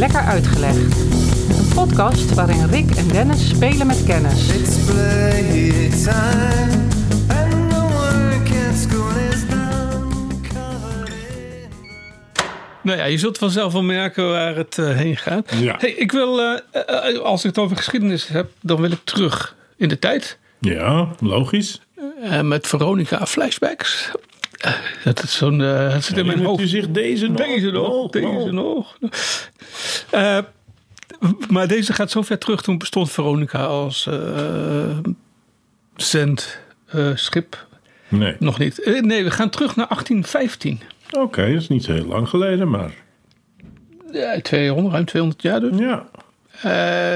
elkaar uitgelegd. Een podcast waarin Rick en Dennis spelen met kennis. It's playtime, and the work at school is done. Covered in Nou ja, je zult vanzelf wel merken waar het eh, heen gaat. Ja. Hey, ik wil, eh, eh, eh, als ik het over geschiedenis heb, dan wil ik terug in de tijd. Ja, logisch. Eh, met Veronica flashbacks. Eh, dat is zo'n, eh, het zit in mijn Herinnert u hoofd. zich deze nog? Deze nog, deze nog. Eh, maar deze gaat zo ver terug. Toen bestond Veronica als eh zendschip. Nee. Nog niet. Eh, nee, we gaan terug naar 1815. Oké, dat is niet heel lang geleden, maar Ja, 200, Eh, ruim 200 jaar dus. ja.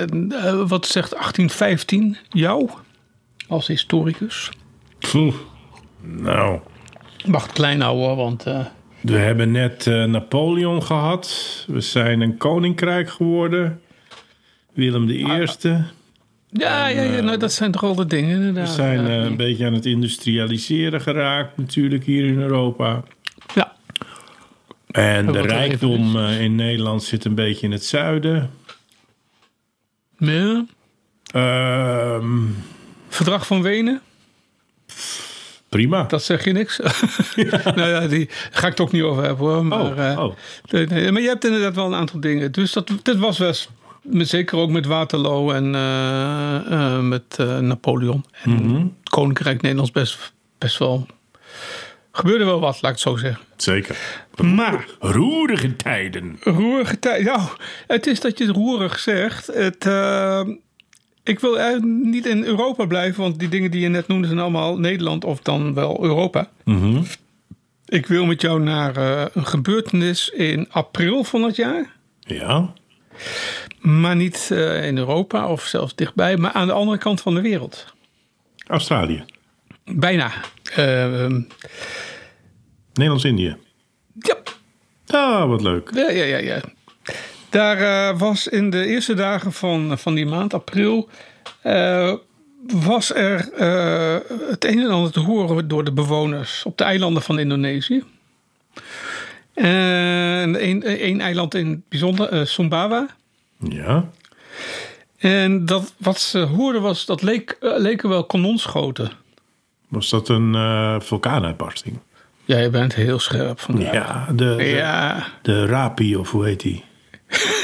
En, eh, wat zegt 1815 jou als historicus? Pff, Nou, Mag het klein houden, hoor, want eh, we hebben net eh, Napoleon gehad. We zijn een koninkrijk geworden. Willem de Ah, Eerste. ja, ja, ja, nou, dat zijn toch al de dingen We inderdaad. zijn ja. eh, een beetje aan het industrialiseren geraakt natuurlijk hier in Europa. Ja. En de wordt er rijkdom eh, in Nederland zit een beetje in het zuiden. Ja. Ehm, Verdrag van Wenen, prima. dat zeg je niks. nou ja, die ga ik het ook niet over hebben hoor. Maar, eh, oh, oh. nee, nee, maar je hebt inderdaad wel een aantal dingen. Dus dat, dat was wel, eens- met- zeker ook met Waterloo en eh, eh, met eh, Napoleon. En Mhm. Koninkrijk Nederlands best, best wel... Gebeurde wel wat, laat ik het zo zeggen. Zeker. Maar Roerige tijden. roerige tijd. Nou, het is dat je het roerig zegt. Het, eh, ik wil eigenlijk niet in Europa blijven, want die dingen die je net noemde zijn allemaal Nederland of dan wel Europa. Mhm. Ik wil met jou naar eh, een gebeurtenis in april van het jaar. Ja. Maar niet eh, in Europa of zelfs dichtbij, maar aan de andere kant van de wereld. Australië. Bijna. Eh, Nederlands-Indië. ja, Ah, wat leuk. Ja, ja, ja. ja. Daar eh, was in de eerste dagen van, eh, van die maand, april, eh, was er eh, het een en ander te horen door de bewoners op de eilanden van Indonesië. En een, een eiland in het bijzonder, eh, Sumbawa. Ja. En dat, wat ze hoorden was, dat leek, eh, leken wel kanonschoten. Was dat een eh, vulkaanuitbarsting? Jij bent heel scherp vandaag. Ja. De, de, Ja, de Rapi, of hoe heet die?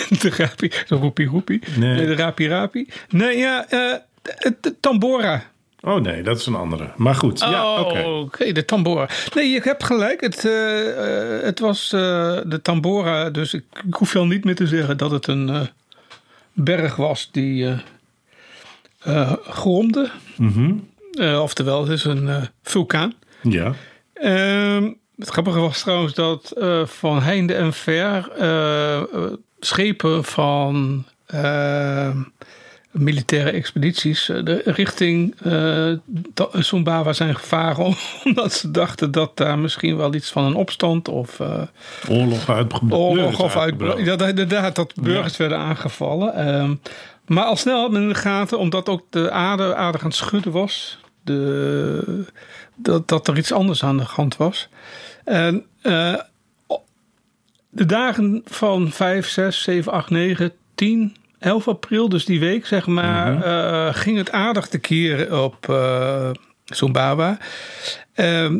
de rapi, de roepie roepie, Nee. de rapi rapi. Nee, ja, eh, de- de tambora. Oh nee, dat is een andere. Maar goed. ja, oh, oké. oké, de tambora. Nee, je hebt gelijk. Het, eh, eh, het was eh, de tambora. Dus ik, ik hoef jou niet meer te zeggen dat het een eh, berg was die eh eh, gromde. Mhm. Eh, oftewel, het is een eh, vulkaan. Ja. Ehm, het grappige was trouwens dat eh, van heinde en ver eh, eh, schepen van ehm, militaire expedities eh, de, richting eh Da- Sumbawa zijn gevaren. Omdat ze dachten dat daar misschien wel iets van een opstand of eh, Oorlog uitgebroken. oorlog of uitbreiding. Oh, Ja, dat- inderdaad, dat burgers werden aangevallen. Ehm, maar al snel had men in de gaten, omdat ook de aarde aardig aan het schudden was, de, dat, dat er iets anders aan de hand was. En eh, de dagen van 5, 6, 7, 8, 9, 10, 11 april, dus die week zeg maar, eh, ging het aardig te keren op eh Sumbawa. Ehm,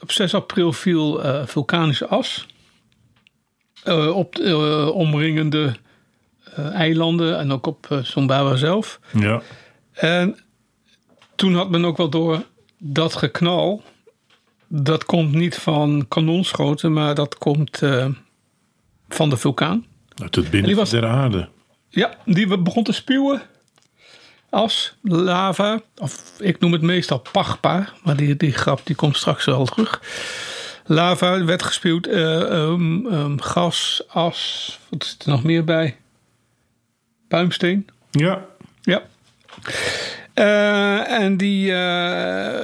op 6 april viel eh, vulkanische as eh, op de eh, omringende eh, eilanden en ook op eh, Sumbawa zelf. Ja. En toen had men ook wel door dat geknal. Dat komt niet van kanonschoten, maar dat komt eh, van de vulkaan. Uit het die binnen was- der aarde. Ja, die we- begon te spuwen. As, lava, of ik noem het meestal pachpa, maar die, die grap die komt straks wel terug. Lava werd gespuwd, eh, ehm, ehm, gas, as, wat zit er nog meer bij? Puimsteen. Ja. Ja. Eh, en die, eh,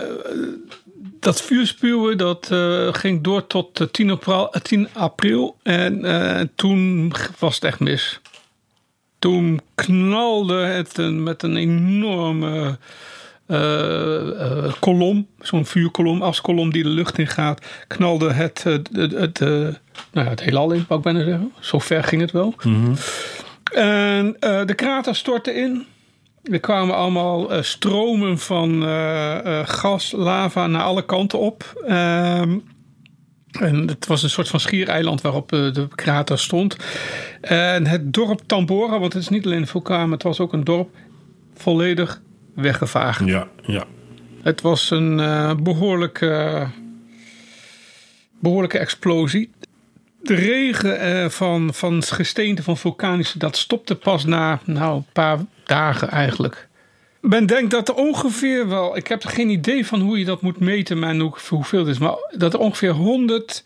dat vuurspuwen dat, eh, ging door tot eh, 10 april. eh, 10 april en eh, toen was het echt mis. Toen knalde het een- met een enorme eh, eh, kolom, zo'n vuurkolom, askolom die de lucht in gaat, knalde het, eh, het, het, eh, nou ja, het heelal in, wou ik bijna zeggen. Zo ver ging het wel. En eh, de krater stortte in. Er kwamen allemaal eh, stromen van eh, eh, gas, lava naar alle kanten op. Ehm, en het was een soort van schiereiland waarop eh, de krater stond. En het dorp Tambora, want het is niet alleen een vulkaan, maar het was ook een dorp, volledig weggevaagd. Ja, ja. Het was een eh, behoorlijke, behoorlijke explosie. De regen eh, van, van gesteente van vulkanische, dat stopte pas na nou, een paar dagen eigenlijk. Men denkt dat er ongeveer wel, ik heb geen idee van hoe je dat moet meten en hoe, hoeveel het is, maar dat er ongeveer 100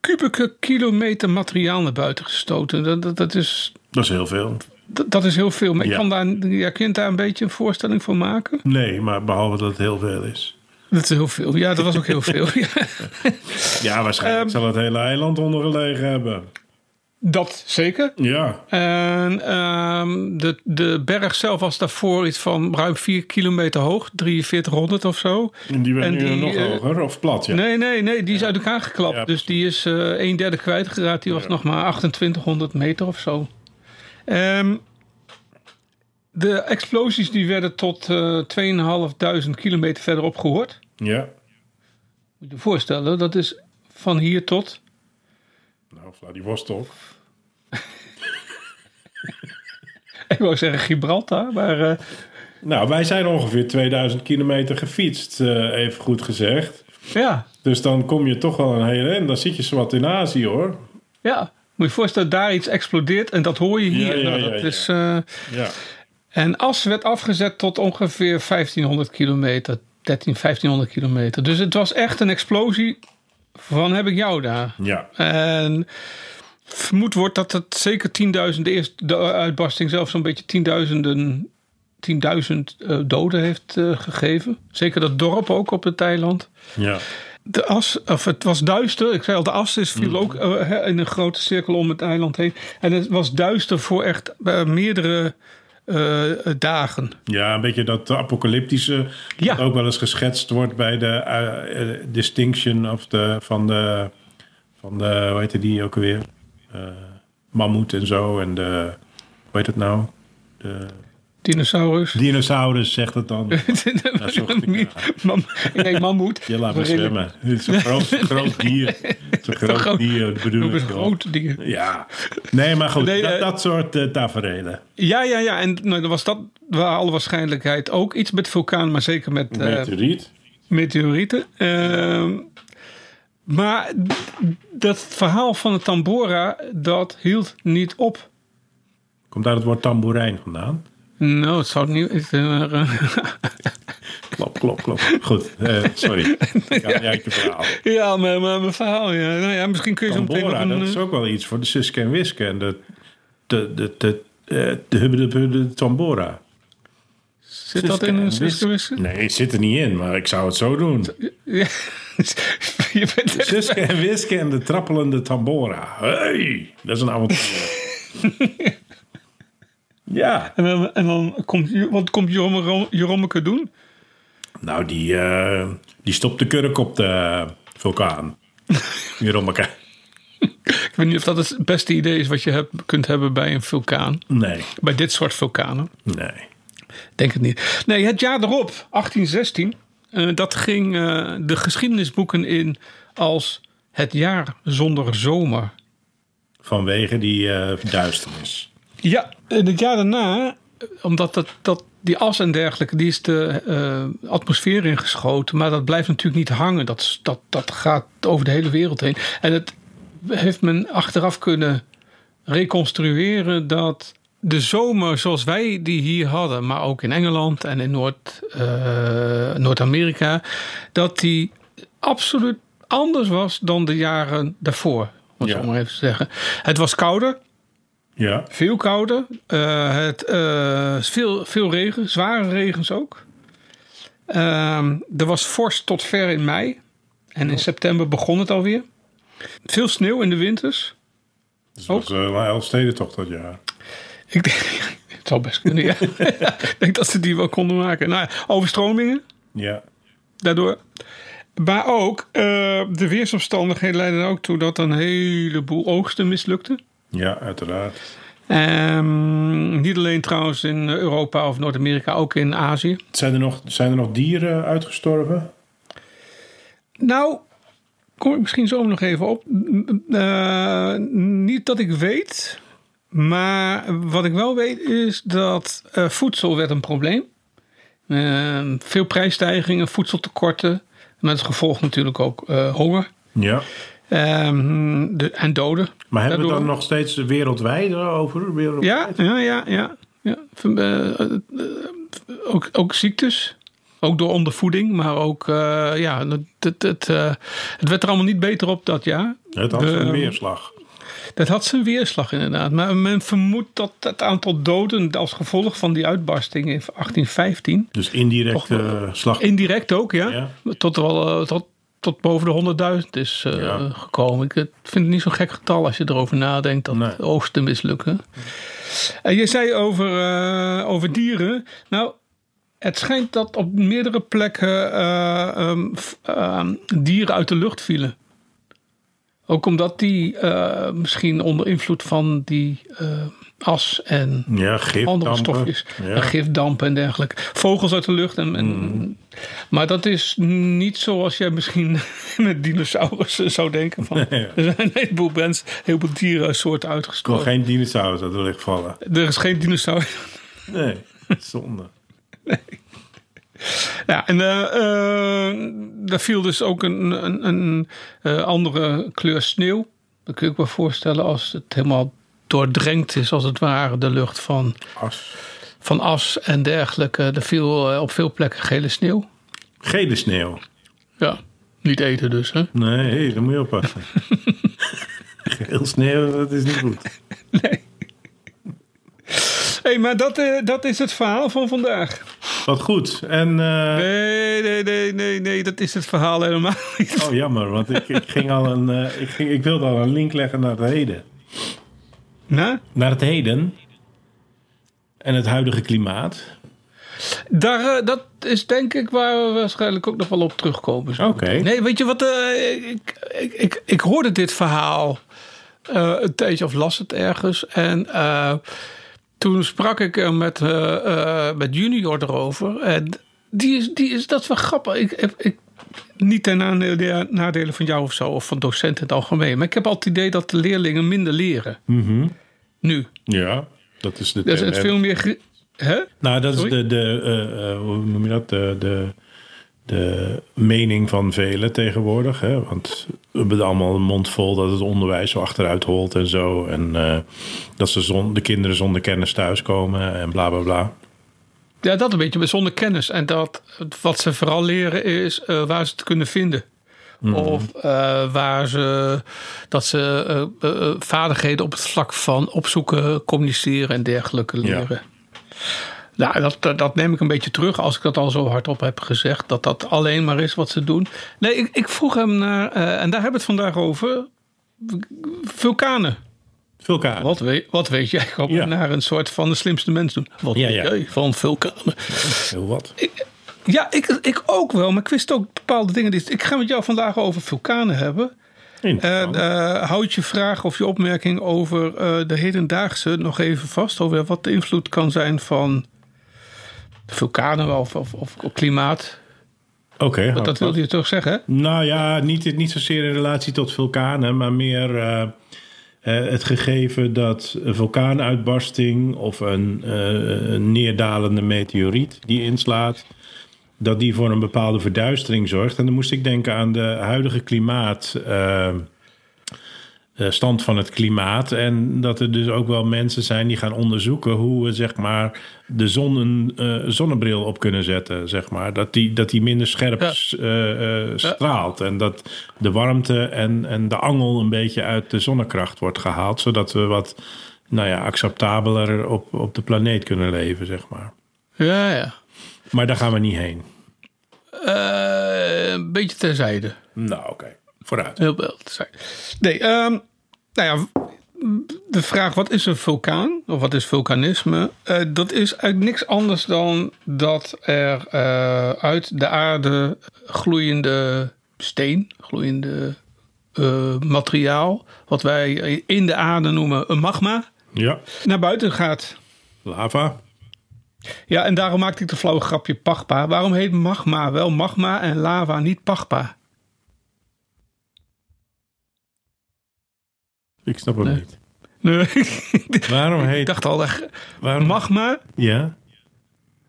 kubieke kilometer materiaal naar buiten gestoten. Dat, dat, dat is, Dat is heel veel. dat, dat is heel veel. Maar Ja. ik kan daar, jij kunt daar een beetje een voorstelling van maken. Nee, maar behalve dat het heel veel is. Dat is heel veel. Ja, dat was ook heel veel. Ja. Ja, waarschijnlijk Ehm. zal het hele eiland ondergelegen hebben. Dat zeker. Ja, En ehm, de, de berg zelf was daarvoor iets van ruim 4 kilometer hoog, 4300 of zo. en die werd En nu die, nog eh, hoger of plat. Ja. Nee, nee, nee, die is uit elkaar geklapt. Ja, dus die is eh een derde kwijtgeraakt. Die was nog maar 2800 meter of zo. Ehm, de explosies die werden tot eh 2500 kilometer verderop gehoord. Ja. Moet je je voorstellen, dat is van hier tot Nou, Vladivostok. Ik wou zeggen Gibraltar, maar eh, Nou, wij zijn ongeveer 2000 kilometer gefietst, eh, even goed gezegd. ja, Dus dan kom je toch wel een hele en Dan zit je zowat in Azië hoor. ja. Moet je je voorstellen, daar iets explodeert en dat hoor je hier. Ja, ja, Nou, ja, dat ja. Is, eh, Ja. en as werd afgezet tot ongeveer 1500 kilometer, 13, 1500 kilometer. Dus het was echt een explosie van heb ik jou daar. Ja. En vermoed wordt dat het zeker 10.000, de eerste de uitbarsting zelf zo'n beetje tienduizenden, 10.000 eh, doden heeft eh, gegeven. Zeker dat dorp ook op het eiland. Ja. De as, of het was duister. Ik zei al, de as is, viel Mm. ook eh, hè, in een grote cirkel om het eiland heen. En het was duister voor echt eh, meerdere eh, dagen. Ja, een beetje dat apocalyptische. Ja. Dat ook wel eens geschetst wordt bij de eh, eh, Distinction of de, van de. Van de. Hoe heette die ook alweer? Eh mammoet en zo. En de. Hoe heet het nou? De Dinosaurus. dinosaurus zegt het dan. Ja, zocht ik Mam, ik denk mammoet. Je laat me Waarin- zwemmen. Het is een groot, groot dier. Het is een groot, groot- dier, bedoel Ook ik een wel. groot dier. Ja. Nee, maar goed. Nee, dat, eh, dat soort eh, taferelen. Ja, ja, ja. En nou, dan was dat waar alle waarschijnlijkheid ook iets met vulkaan, maar zeker met eh, Meteoriet. meteorieten. Ehm, maar d- dat verhaal van de Tambora, dat hield niet op. Komt daar het woord tamboerijn vandaan? Nou, het zou niet. ik, eh, Klop, klop, klop. Goed, eh, sorry. Ik had niet uit je verhaal. ja, maar, maar mijn verhaal. Ja. Nou ja, misschien kun je zo meteen. nog Tambora, een, eh, dat is ook wel iets voor de Suske en Wiske. En de, de, de, de, eh, de, hubbe de, hubbe de Tambora. zit dat in een Suske Nee, het zit er niet in, maar ik zou het zo doen. Ja. Je bent echt- Suske en Wiske en de trappelende Tambora. Hey, dat is een avontuur. ja, En dan, en dan komt, Jo- wat komt Jeromme- Jerommeke doen? nou die, eh, die stopt de kurk op de eh, vulkaan. Jerommeke. Ik weet niet of dat het beste idee is wat je hebt, kunt hebben bij een vulkaan. Nee, Bij dit soort vulkanen. nee. Denk het niet. Nee, het jaar erop, 1816, eh, dat ging eh, de geschiedenisboeken in als het jaar zonder zomer. Vanwege die eh, duisternis. Ja, en het jaar daarna, omdat dat, dat, die as en dergelijke, die is de eh, atmosfeer ingeschoten. Maar dat blijft natuurlijk niet hangen. Dat, is- dat, dat gaat over de hele wereld heen. En het heeft men achteraf kunnen reconstrueren dat de zomer zoals wij die hier hadden, maar ook in Engeland en in Noord, eh, Noord-Amerika, dat die absoluut anders was dan de jaren daarvoor. Om het Ja. zo maar even te zeggen. Het was kouder. Ja. Veel kouder. eh, het, eh, veel, veel regen, zware regens ook. Ehm, er was vorst tot ver in mei. En in september begon het alweer. Veel sneeuw in de winters. Dus dat Oh. was eh, een Elfstedentocht dat jaar. Ik denk, het zou best kunnen, ja. Ik denk dat ze die wel konden maken. Nou, ja, overstromingen Ja. daardoor. Maar ook, eh, de weersomstandigheden leidden er ook toe dat een heleboel oogsten mislukten. Ja, uiteraard. Ehm, niet alleen trouwens in Europa of Noord-Amerika, ook in Azië. Zijn er nog, zijn er nog dieren uitgestorven? Nou, kom ik misschien zo nog even op. Eh, niet dat ik weet, maar wat ik wel weet is dat eh, voedsel werd een probleem. Eh, veel prijsstijgingen, voedseltekorten. Met als gevolg natuurlijk ook eh, honger Ja. Ehm, de, en doden. Maar hebben we het Daardoor- dan nog steeds wereldwijd over? Wereldwijd? Ja, ja, ja. ja, ja. Van, eh, eh, eh, ook, ook ziektes. Ook door ondervoeding, maar ook, eh, ja, het, het, het, eh, het werd er allemaal niet beter op dat jaar. Het had een We- weerslag. Dat had zijn weerslag inderdaad. Maar men vermoedt dat het aantal doden als gevolg van die uitbarsting in 1815, Dus indirect Toch eh, slag. indirect ook, ja, Ja. Tot, wel, eh, tot, tot boven de 100.000 is eh, Ja. gekomen. Ik eh, vind het niet zo'n gek getal als je erover nadenkt dat Nee. oogsten mislukken. En je zei over, eh, over dieren. Nou, het schijnt dat op meerdere plekken eh, ehm, f- ehm, dieren uit de lucht vielen. Ook omdat die eh, misschien onder invloed van die eh, as en Ja, gif. andere dampen. stofjes. Ja. Gifdampen en dergelijke. Vogels uit de lucht. En, en, Mm. Maar dat is niet zoals jij misschien met dinosaurussen zou denken. Van. Nee. Er zijn een heleboel, mens, een heleboel dierensoorten Ik wil uitgestorven. geen dinosaurus uit de lucht vallen. Er is geen dinosaurus. Nee, zonde. Ja, en eh, eh, daar viel dus ook een, een, een eh, andere kleur sneeuw. Dat kun je ook wel voorstellen als het helemaal doordrenkt is, als het ware, de lucht van, As. van as en dergelijke. Er viel eh, op veel plekken gele sneeuw. Gele sneeuw. Ja, niet eten dus, hè? Nee, hey, daar moet je oppassen. Geel sneeuw, dat is niet goed. Hé, maar dat, eh, dat is het verhaal van vandaag. Wat goed. En, eh, Nee, nee, nee, nee, nee, dat is het verhaal helemaal niet. oh jammer, want ik, ik, ging al een, eh, ik, ging, ik wilde al een link leggen naar het heden. Nou, Naar het heden. En het huidige klimaat. daar, eh, dat is denk ik waar we waarschijnlijk ook nog wel op terugkomen. zo. Oké. Nee, weet je wat? eh, ik, ik, ik, ik hoorde dit verhaal eh, een tijdje of las het ergens. En eh, toen sprak ik er met, eh, eh, met Junior erover. En die is, die is, dat is wel grappig. Ik, heb- ik, niet ten nadele- nadele van jou of zo, of van docenten in het algemeen. Maar ik heb altijd het idee dat de leerlingen minder leren. Mhm. Nu. Ja, dat is de Dus het tendens. veel meer. ge- Hè? Nou, dat Sorry? is de, de eh, eh, hoe noem je dat? De, de, de mening van velen tegenwoordig. Hè? Want we hebben allemaal een mond vol dat het onderwijs zo achteruit holt en zo. En eh, dat ze zon, de kinderen zonder kennis thuiskomen en bla bla bla. Ja, dat een beetje, maar zonder kennis. En dat wat ze vooral leren is eh, waar ze het kunnen vinden. Hmm. Of eh, waar ze, dat ze eh, eh, eh, vaardigheden op het vlak van opzoeken, communiceren en dergelijke leren. Nou, dat, dat- dat neem ik een beetje terug als ik dat al zo hardop heb gezegd. Dat dat alleen maar is wat ze doen. Nee, ik, ik vroeg hem naar, eh, en daar hebben we het vandaag over, vulkanen. Vulkaan. Wat weet, wat weet jij op Ja. naar een soort van de slimste mens doen? Wat Ja, weet ja. jij van vulkanen? Heel wat. Ja, ik, ik ook wel, maar ik wist ook bepaalde dingen. niet. Ik ga met jou vandaag over vulkanen hebben. En Interessant. eh, houd je vraag of je opmerking over eh, de hedendaagse nog even vast. Over wat de invloed kan zijn van vulkanen of, of, of klimaat. Oké. hou Dat, ik dat wilde je toch zeggen? hè? Nou ja, niet, niet zozeer in relatie tot vulkanen, maar meer eh, eh, het gegeven dat een vulkaanuitbarsting of een, eh, een neerdalende meteoriet die inslaat, dat die voor een bepaalde verduistering zorgt. En dan moest ik denken aan de huidige klimaat. eh, eh, stand van het klimaat. En dat er dus ook wel mensen zijn die gaan onderzoeken hoe we zeg maar de zon een eh, zonnebril op kunnen zetten. Zeg maar. dat, die, dat die minder scherp Ja. s- eh, eh, straalt. En dat de warmte en, en de angel een beetje uit de zonnekracht wordt gehaald. Zodat we wat nou ja, acceptabeler op, op de planeet kunnen leven. Zeg maar. Ja, ja. maar daar gaan we niet heen. Eh, een beetje terzijde. Nou oké, vooruit. Heel wel terzijde. Nee, ehm, nou ja. De vraag, wat is een vulkaan? Of wat is vulkanisme? Eh, dat is eigenlijk niks anders dan dat er eh, uit de aarde gloeiende steen, gloeiende eh, materiaal, wat wij in de aarde noemen een magma, Ja, naar buiten gaat. lava. Ja, en daarom maakte ik de flauwe grapje Pagpa. Waarom heet magma wel magma en lava niet Pagpa? Ik snap het Nee. niet. Nee, Waarom ik heet... dacht al, daar- waarom, magma, Ja?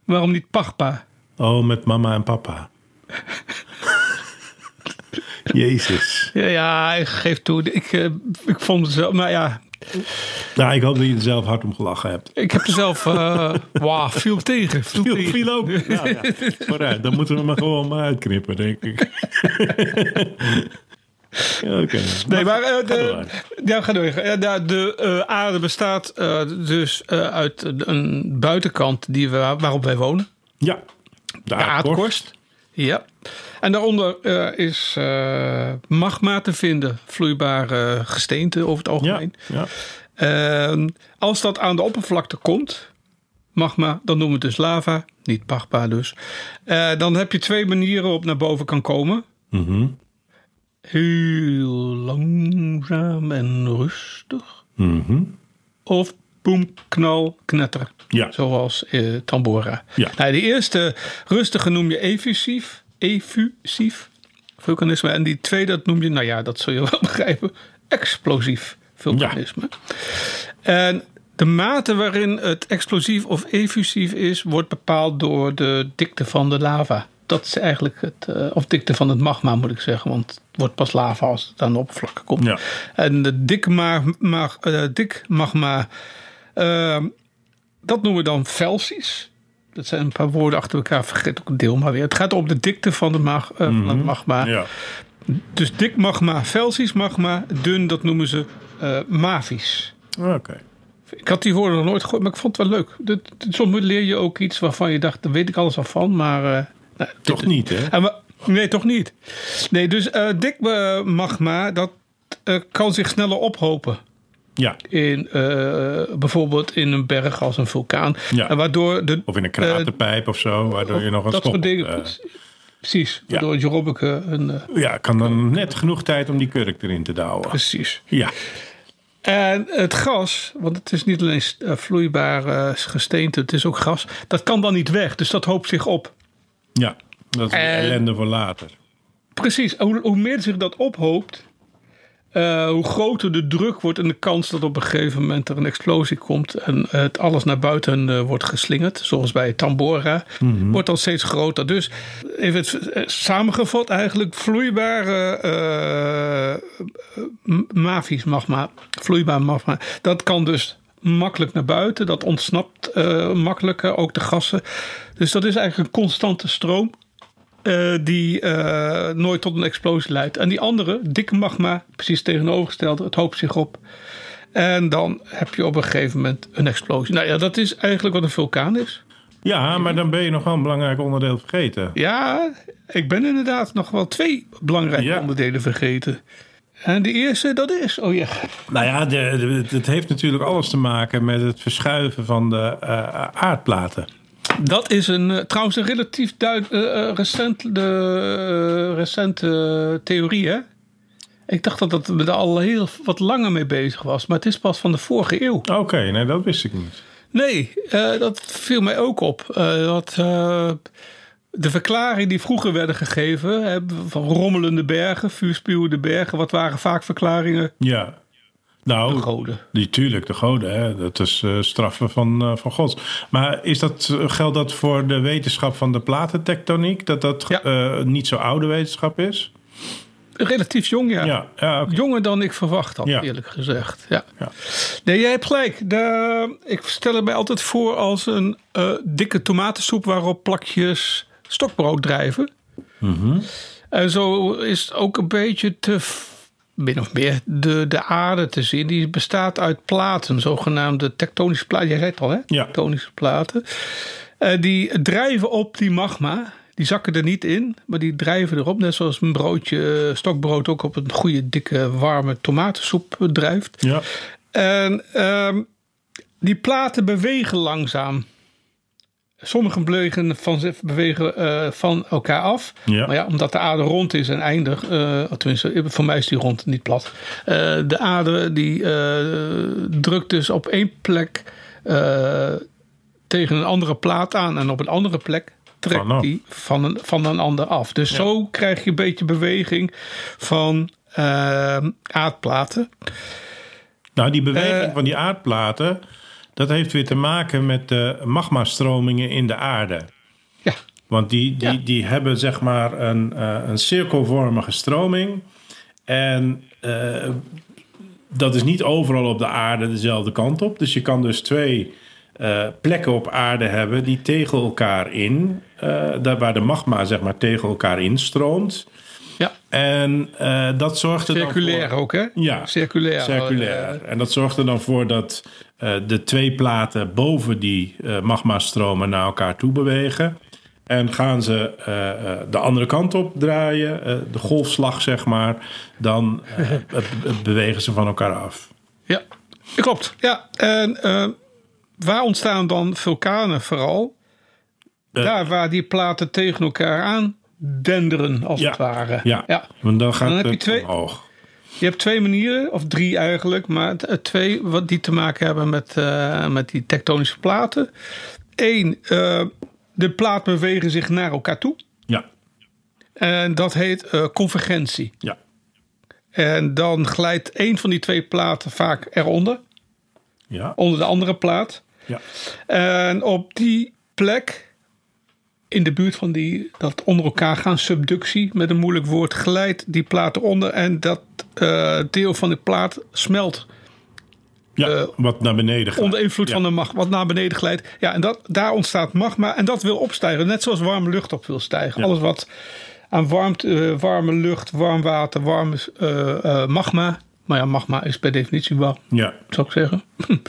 waarom niet Pagpa? Oh, met mama en papa. Jezus. Ja, ja, ik geef toe. Ik, eh, ik vond het zelf, maar ja, Nou, ik hoop dat je er zelf hard om gelachen hebt. ik heb er zelf, eh wauw, viel tegen. Viel Viel, tegen. viel ook. Nou, ja. Vooruit, dan moeten we maar gewoon maar uitknippen, denk ik. Ja, Oké. Nee, maar eh, Ga de, door. ja, ga door. Ja, de- de eh, aarde bestaat eh, dus eh, uit een buitenkant die we, waarop wij wonen. Ja, de De aardkorst. aardkorst. Ja. En daaronder eh, is eh, magma te vinden, vloeibare eh, gesteente over het Ja, algemeen. ja. Eh, als dat aan de oppervlakte komt, magma, dan noemen we het dus lava, niet pagpa dus. Eh, dan heb je twee manieren op naar boven kan komen. Mhm, Heel langzaam en rustig. mhm. Of boem, knal, knetter. Ja. Zoals eh, Tambora. Ja. Nou, de eerste rustige noem je effusief. Effusief vulkanisme. En die tweede dat noem je, nou ja, dat zul je wel begrijpen. Explosief vulkanisme. En de mate waarin het explosief of effusief is, wordt bepaald door de dikte van de lava. Dat is eigenlijk het, eh, of dikte van het magma moet ik zeggen, want het wordt pas lava als het aan de oppervlakte komt. Ja. En de dik, ma ma- eh, dik magma, ehm, dat noemen we dan felsies. Dat zijn een paar woorden achter elkaar, vergeet ook een deel maar weer. Het gaat om de dikte van, de mag, eh, van het magma. Mhm. ja. Dus dik magma, felsies magma, dun dat noemen ze eh mavisch. Oké. Ik had die woorden nog nooit gehoord, maar ik vond het wel leuk. Dit- dit- soms leer je ook iets waarvan je dacht, daar weet ik alles al van, maar... eh, nou, dit- Toch niet, hè? En wa- nee, toch niet. Nee, dus eh dik eh, magma, dat eh, kan zich sneller ophopen. Ja. In, eh, bijvoorbeeld in een berg als een vulkaan. Ja. En waardoor de, Of in een kraterpijp of zo, waardoor je nog een Eh, dat soort stop... dingen... eh, precies, ja. waardoor Jerobbeke een... eh, ja, kan dan net genoeg tijd om die kurk erin te douwen. precies. Ja. En het gas, want het is niet alleen eh, vloeibaar eh, gesteente, het is ook gas. Dat kan dan niet weg, dus dat hoopt zich op. Ja. Dat is En- ellende voor later. Precies, hoe, hoe meer zich dat ophoopt, eh, hoe groter de druk wordt en de kans dat op een gegeven moment er een explosie komt en eh, het alles naar buiten eh, wordt geslingerd, zoals bij Tambora, wordt dan steeds groter. Dus even het, eh, samengevat eigenlijk, vloeibare eh, eh, m- mafisch magma, vloeibaar magma, dat kan dus makkelijk naar buiten, dat ontsnapt eh, makkelijker, ook de gassen. Dus dat is eigenlijk een constante stroom eh, die eh, nooit tot een explosie leidt. En die andere, dikke magma, precies tegenovergestelde, het hoopt zich op. En dan heb je op een gegeven moment een explosie. Nou ja, dat is eigenlijk wat een vulkaan is. Ja, maar dan ben je nog wel een belangrijk onderdeel vergeten. Ja, ik ben inderdaad nog wel twee belangrijke Ja. onderdelen vergeten. En de eerste, dat is, oh ja, Nou ja, de, de- het heeft natuurlijk alles te maken met het verschuiven van de eh, aardplaten. dat is een, eh, trouwens een relatief duid, eh, eh, recent, de, eh, recente theorie, hè? Ik dacht dat dat we er al heel wat langer mee bezig was, maar het is pas van de vorige eeuw. Oké, nee, dat wist ik niet. Nee, eh, dat viel mij ook op. Eh, dat, eh, de verklaring die vroeger werden gegeven hè, van rommelende bergen, vuurspuwende bergen, wat waren vaak verklaringen? Ja. Nou, Goden. die, tuurlijk, de goden. Hè? Dat is eh, straffen van, eh, van God. Maar is dat, geldt dat voor de wetenschap van de platentektoniek? Dat dat Ja. eh, niet zo oude wetenschap is? Relatief jong, ja. Ja, ja, oké. Jonger dan ik verwacht had, Ja. eerlijk gezegd. Ja. Ja. Nee, jij hebt gelijk. De, ik stel het mij altijd voor als een eh, dikke tomatensoep waarop plakjes stokbrood drijven. Mhm. En zo is ook een beetje te, f- min of meer, de, de aarde te zien. Die bestaat uit platen, zogenaamde tektonische platen. Jij zei het al, hè? Ja. Tektonische platen. Eh, die drijven op die magma. Die zakken er niet in, maar die drijven erop. Net zoals een broodje eh, stokbrood ook op een goede, dikke, warme tomatensoep eh, drijft. Ja. En ehm, die platen bewegen langzaam. Sommigen bewegen van, zich- bewegen, eh, van elkaar af. Ja. Maar ja, omdat de aarde rond is en eindig. eh, tenminste, voor mij is die rond, niet plat. Eh, de aarde die eh, drukt dus op één plek eh, tegen een andere plaat aan. En op een andere plek trekt Vanaf. die van een, van een ander af. Dus zo krijg je een beetje beweging van eh, aardplaten. Nou, die beweging Eh. van die aardplaten, dat heeft weer te maken met de magmastromingen in de aarde. Ja, Want die, die, Ja. die hebben zeg maar een, eh, een cirkelvormige stroming. En eh, dat is niet overal op de aarde dezelfde kant op. Dus je kan dus twee eh, plekken op aarde hebben die tegen elkaar in, eh, daar waar de magma zeg maar tegen elkaar instroomt. ja. En eh, dat zorgt er dan voor- circulair ook hè? ja, Circulair. circulair. Eh, en dat zorgt er dan voor dat eh, de twee platen boven die eh magmastromen naar elkaar toe bewegen. En gaan ze eh, eh, de andere kant op draaien, eh, de golfslag zeg maar, dan eh, be- be- bewegen ze van elkaar af. Ja, klopt. Ja, en eh, waar ontstaan dan vulkanen vooral? Eh. Daar waar die platen tegen elkaar aan denderen, als Ja, het ware. Ja, want dan gaat Dan heb je het twee- omhoog. Je hebt twee manieren, of drie eigenlijk, maar t- eh, twee wat die te maken hebben met, eh, met die tektonische platen. Eén, eh, de platen bewegen zich naar elkaar toe. Ja, En dat heet eh, convergentie. ja, En dan glijdt één van die twee platen vaak eronder, ja, onder de andere plaat. ja, En op die plek, in de buurt van die, dat onder elkaar gaan subductie, met een moeilijk woord, glijdt die plaat eronder en dat eh, deel van de plaat smelt ja. wat naar beneden gaat. Eh, onder invloed Ja. van de magma, wat naar beneden glijdt. Ja, en dat, daar ontstaat magma en dat wil opstijgen, net zoals warme lucht op wil stijgen. Ja. Alles wat aan warmte, eh, warme lucht, warm water, warm eh, eh, magma. Maar ja, magma is per definitie warm, Ja, zou ik zeggen.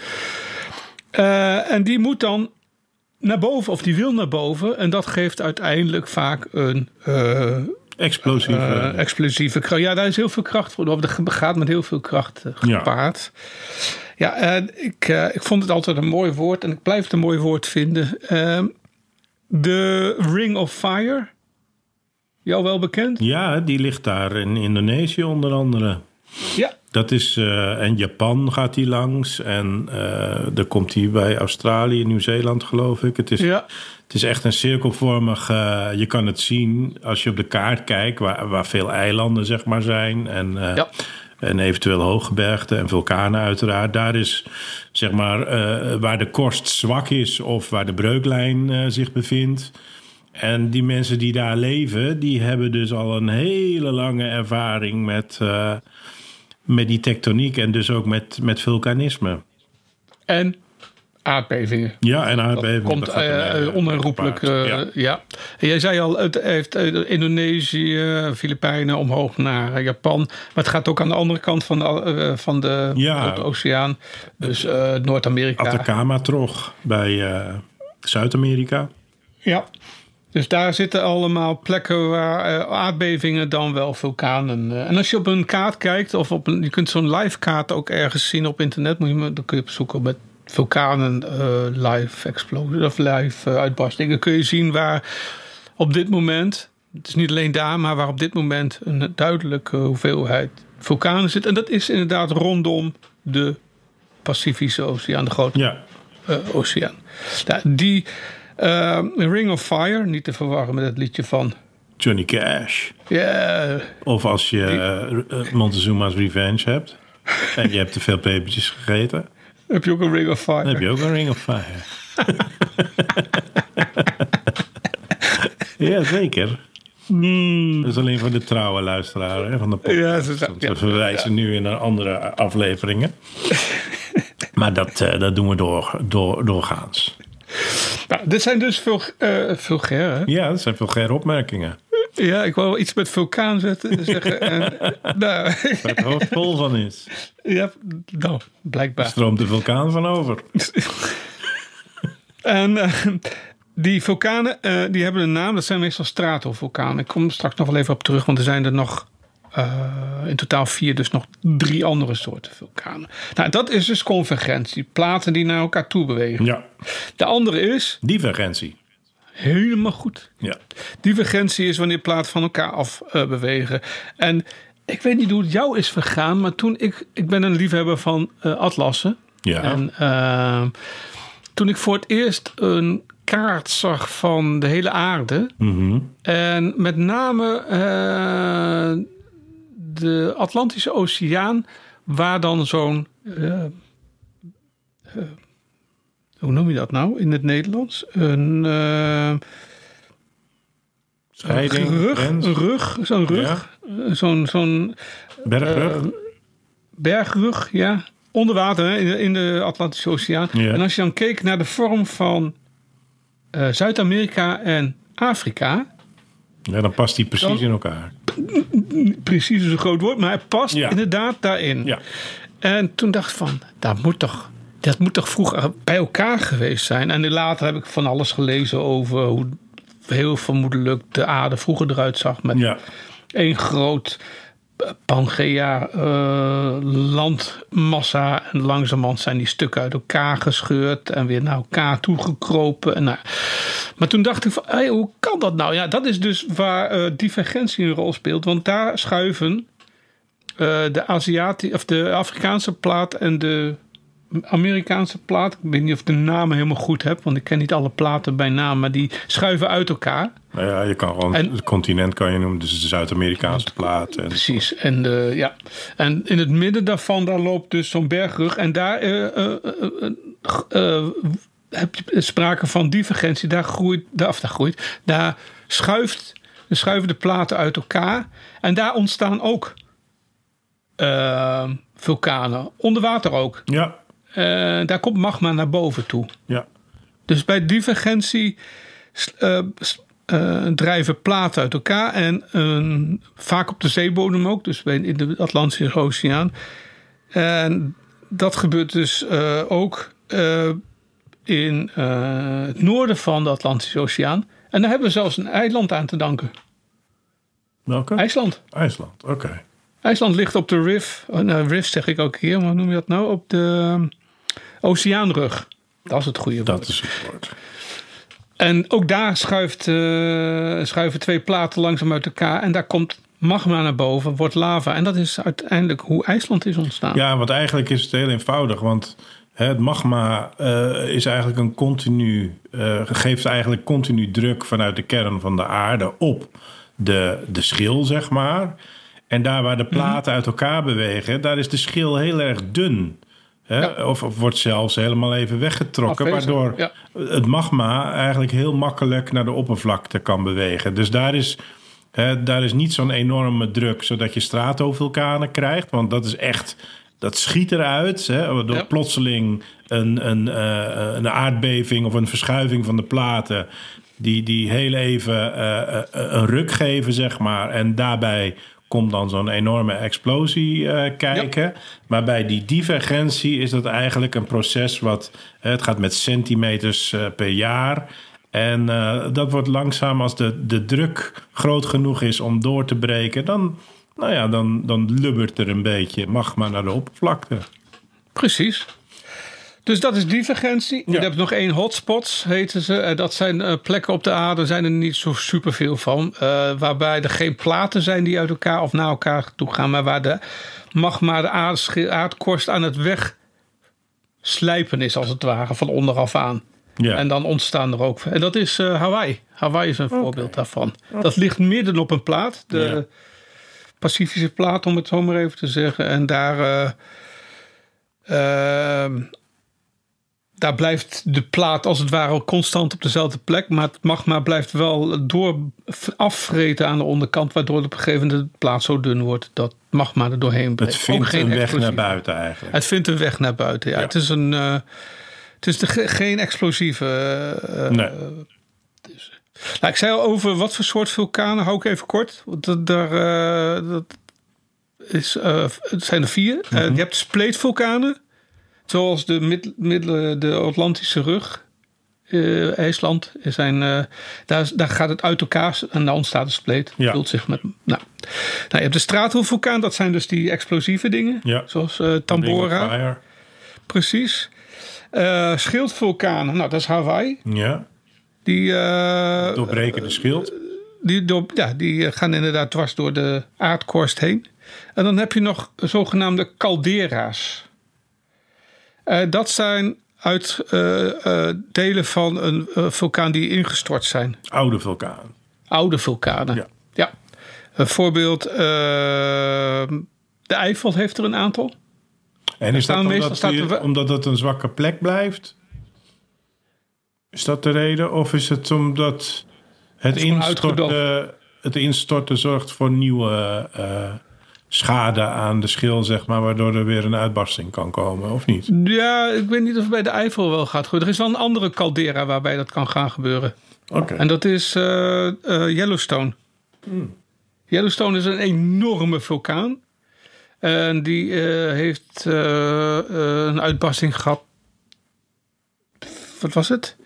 Eh, en die moet dan naar boven, of die wil naar boven. En dat geeft uiteindelijk vaak een eh, eh, explosieve. explosieve kracht. Ja, daar is heel veel kracht voor. nodig. Dat gaat met heel veel kracht eh, Ja. gepaard. Ja, en ik, eh, ik vond het altijd een mooi woord. En ik blijf het een mooi woord vinden. Ehm, de Ring of Fire. Jou wel bekend? ja, die ligt daar in Indonesië onder andere. Ja. Dat is, eh, en Japan gaat die langs. En eh dan komt hij bij Australië, Nieuw-Zeeland geloof ik. Het is, Ja. het is echt een cirkelvormig, eh, je kan het zien als je op de kaart kijkt, waar, waar veel eilanden zeg maar zijn. En, eh, Ja. en eventueel hooggebergten en vulkanen uiteraard. Daar is zeg maar eh, waar de korst zwak is of waar de breuklijn eh, zich bevindt. En die mensen die daar leven, die hebben dus al een hele lange ervaring met, eh, met die tektoniek en dus ook met, met vulkanisme. En aardbevingen. Ja, en aardbevingen. Komt dat gaat er eh, mee, eh, onherroepelijk. gepaard. eh, Ja. ja. En Jij zei al, het heeft eh, Indonesië, Filipijnen omhoog naar eh, Japan. Maar het gaat ook aan de andere kant van de, eh, van de, Ja. van de oceaan. Dus eh, Noord-Amerika. Atacama-trog bij eh, Zuid-Amerika. Ja. Dus daar zitten allemaal plekken waar eh, aardbevingen dan wel vulkanen. eh, en als je op een kaart kijkt, of op een, je kunt zo'n live kaart ook ergens zien op internet, moet je, maar- dan kun je opzoeken met vulkanen eh, live explosie of live eh, uitbarstingen. Dan kun je zien waar op dit moment, het is niet alleen daar, maar waar op dit moment een duidelijke hoeveelheid vulkanen zit. En dat is inderdaad rondom de Pacifische Oceaan, de grote Ja, eh, oceaan. Ja, die eh, Ring of Fire, niet te verwarren met het liedje van. Johnny Cash. Yeah, Of als je eh, eh, Montezuma's Revenge hebt. En je hebt te veel pepertjes gegeten. heb je ook een Ring of Fire? Dan heb je ook een ring of fire. ja, zeker. Dat is alleen voor de trouwe luisteraar hè, van de podcast. Hmm. Ja, zo- zo- Want ja. we verwijzen nu in naar andere afleveringen. maar dat, eh, dat doen we door, door, doorgaans. Nou, dit zijn dus vul, eh, vulgairen. Ja, dat zijn vulgaire opmerkingen. Ja, ik wou wel iets met vulkaan zetten, zeggen. en, nou, Waar het hoofd vol van is. ja, nou, blijkbaar. Stroomt de vulkaan van over. En eh, die vulkanen, eh, die hebben een naam. Dat zijn meestal stratovulkanen. Ik kom straks nog wel even op terug, want er zijn er nog eh, in totaal vier, dus nog drie andere soorten vulkanen. Nou, dat is dus convergentie. Platen die naar elkaar toe bewegen. Ja, De andere is divergentie. helemaal goed. Ja. Divergentie is wanneer platen van elkaar af eh, bewegen. En ik weet niet hoe het jou is vergaan, maar toen ik, ik ben een liefhebber van eh, atlassen. Ja. En ehm, toen ik voor het eerst een kaart zag van de hele aarde. Mhm. En met name eh, de Atlantische Oceaan, waar dan zo'n. eh, eh, hoe noem je dat nou in het Nederlands? Een. eh, Scheiding, rug, grens, een rug, zo'n rug, Ehm, eh, zo'n zo'n bergrug. bergrug, ja, onder water hè, in, de, in de Atlantische Oceaan. Ja. En als je dan keek naar de vorm van eh, Zuid-Amerika en Afrika, ja, dan past die precies dan- in elkaar. precies is een groot woord, maar het past Ja. inderdaad daarin. Ja. En toen dacht ik van, dat moet toch, dat moet toch vroeger bij elkaar geweest zijn. En later heb ik van alles gelezen over hoe heel vermoedelijk de aarde vroeger eruit zag met Ja. één groot Pangea eh, landmassa. En langzamerhand zijn die stukken uit elkaar gescheurd en weer naar elkaar toegekropen. En nou, maar toen dacht ik van, hey, hoe kan dat nou? Ja, dat is dus waar eh, divergentie een rol speelt. Want daar schuiven eh, de, Aziati of de Afrikaanse plaat en de Amerikaanse plaat. Ik weet niet of ik de namen helemaal goed heb, want ik ken niet alle platen bij naam. Maar die schuiven uit elkaar. Nou ja, je kan gewoon En- het continent kan je noemen. Dus de Zuid-Amerikaanse plaat. En, Precies. En, eh, ja. en in het midden daarvan daar loopt dus zo'n bergrug. En daar eh, eh, eh, eh, eh, heb je sprake van divergentie. Daar groeit, daar, of daar groeit, daar schuift, schuiven de platen uit elkaar. En daar ontstaan ook eh, vulkanen. Onder water ook. ja, Eh, daar komt magma naar boven toe. ja. Dus bij divergentie s- eh, s- eh, drijven platen uit elkaar en een- vaak op de zeebodem ook, dus bij- in de Atlantische Oceaan. En dat gebeurt dus eh, ook eh, in eh, het noorden van de Atlantische Oceaan. En daar hebben we zelfs een eiland aan te danken: Welke? IJsland. IJsland, oké. IJsland ligt op de Rif, oh, nou, Rif zeg ik ook hier, maar hoe noem je dat nou? Op de eh, Oceaanrug. Dat is het goede woord. Dat is het woord. En ook daar schuift, eh, schuiven twee platen langzaam uit elkaar. En daar komt magma naar boven, wordt lava. En dat is uiteindelijk hoe IJsland is ontstaan. Ja, want eigenlijk is het heel eenvoudig. Want hè, het magma eh, is eigenlijk een continu, eh, geeft eigenlijk continu druk vanuit de kern van de aarde op de, de schil, zeg maar. En daar waar de Mhm. platen uit elkaar bewegen, daar is de schil heel erg dun. Hè? Ja. Of, of wordt zelfs helemaal even weggetrokken, Afwezig, waardoor ja. het magma eigenlijk heel makkelijk naar de oppervlakte kan bewegen. Dus daar is, hè, daar is niet zo'n enorme druk, zodat je stratovulkanen krijgt. Want dat is echt, dat schiet eruit. Hè, waardoor Ja. plotseling een, een, eh, een aardbeving of een verschuiving van de platen. Die, die heel even eh, eh, een ruk geven, zeg maar. En daarbij komt dan zo'n enorme explosie eh, kijken. Maar bij die divergentie is dat eigenlijk een proces wat... eh, het gaat met centimeters eh, per jaar. En eh, dat wordt langzaam, als de, de druk groot genoeg is om door te breken... dan, nou ja, dan, dan lubbert er een beetje magma naar de oppervlakte. Precies. Dus dat is divergentie. Je Ja. hebt nog één hotspots, heten ze. En Dat zijn eh, plekken op de aarde, zijn er niet zo superveel van. eh, waarbij er geen platen zijn die uit elkaar of naar elkaar toe gaan. Maar waar de magma, de aardsche- aardkorst aan het wegslijpen is, als het ware, van onderaf aan. Ja. En dan ontstaan er ook. En dat is eh, Hawaii. Hawaii is een voorbeeld daarvan. Dat ligt midden op een plaat. De Ja. Pacifische plaat, om het zo maar even te zeggen. En daar. eh, ehm, daar blijft de plaat als het ware constant op dezelfde plek. Maar het magma blijft wel door afvreten aan de onderkant. Waardoor op een gegeven moment de plaat zo dun wordt dat magma er doorheen breekt. het vindt een weg explosie. naar buiten eigenlijk. Het vindt een weg naar buiten. Ja. Ja. Het is, een, eh, het is de, ge- geen explosieve. eh, eh, Nee. nou, ik zei al over wat voor soort vulkanen, hou ik even kort. Want dat, daar, eh, dat is, eh, het zijn er vier. Eh, Mhm. je hebt spleetvulkanen, zoals de, mid, middelen- de Atlantische rug. eh IJsland Er zijn, eh, daar, is- daar gaat het uit elkaar en daar ontstaat een spleet. Ja. Vult zich met, nou. nou, je hebt de straathoofdvulkaan, dat zijn dus die explosieve dingen. Ja. Zoals eh, Ring of Tambora, Fire. precies. Eh schildvulkanen, nou dat is Hawaii. Ja. Die, eh, Doorbreken de schild. die, door, ja, die eh, gaan inderdaad dwars door de aardkorst heen. En dan heb je nog zogenaamde caldera's. Eh, dat zijn uit eh, eh, delen van een eh, vulkaan die ingestort zijn. Oude vulkaan. Oude vulkanen. Ja. Een voorbeeld, eh, de Eifel heeft er een aantal. En is dat staan meestal- omdat, staat die- er wel- omdat het een zwakke plek blijft? Is dat de reden? Of is het omdat het, is gewoon instorten, het instorten zorgt voor nieuwe eh, schade aan de schil, zeg maar, waardoor er weer een uitbarsting kan komen, of niet? Ja, ik weet niet of het bij de Eifel wel gaat gebeuren. Er is wel een andere caldera waarbij dat kan gaan gebeuren. Oké. En dat is eh, eh, Yellowstone. Yellowstone is een enorme vulkaan. En die eh, heeft eh, eh, een uitbarsting gehad. Wat was het?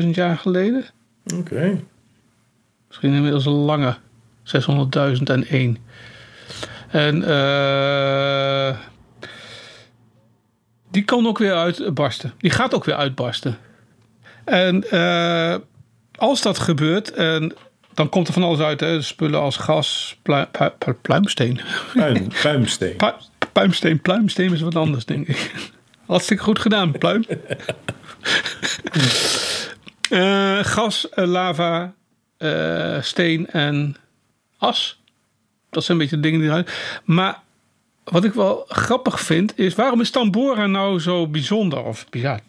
600.000 jaar geleden? Oké. Misschien inmiddels een lange. 600.001. En eh, die kan ook weer uitbarsten. Die gaat ook weer uitbarsten. En eh, als dat gebeurt, en dan komt er van alles uit. Hè? Spullen als gas, plu- pu- pu- pluimsteen. Puim, puimsteen. Pu- puimsteen, pluimsteen is wat anders, denk ik. Hartstikke goed gedaan, pluim. Eh, gas, eh, lava, eh, steen en as. Dat zijn een beetje de dingen die eruit. Maar wat ik wel grappig vind is: waarom is Tambora nou zo bijzonder? Of ja,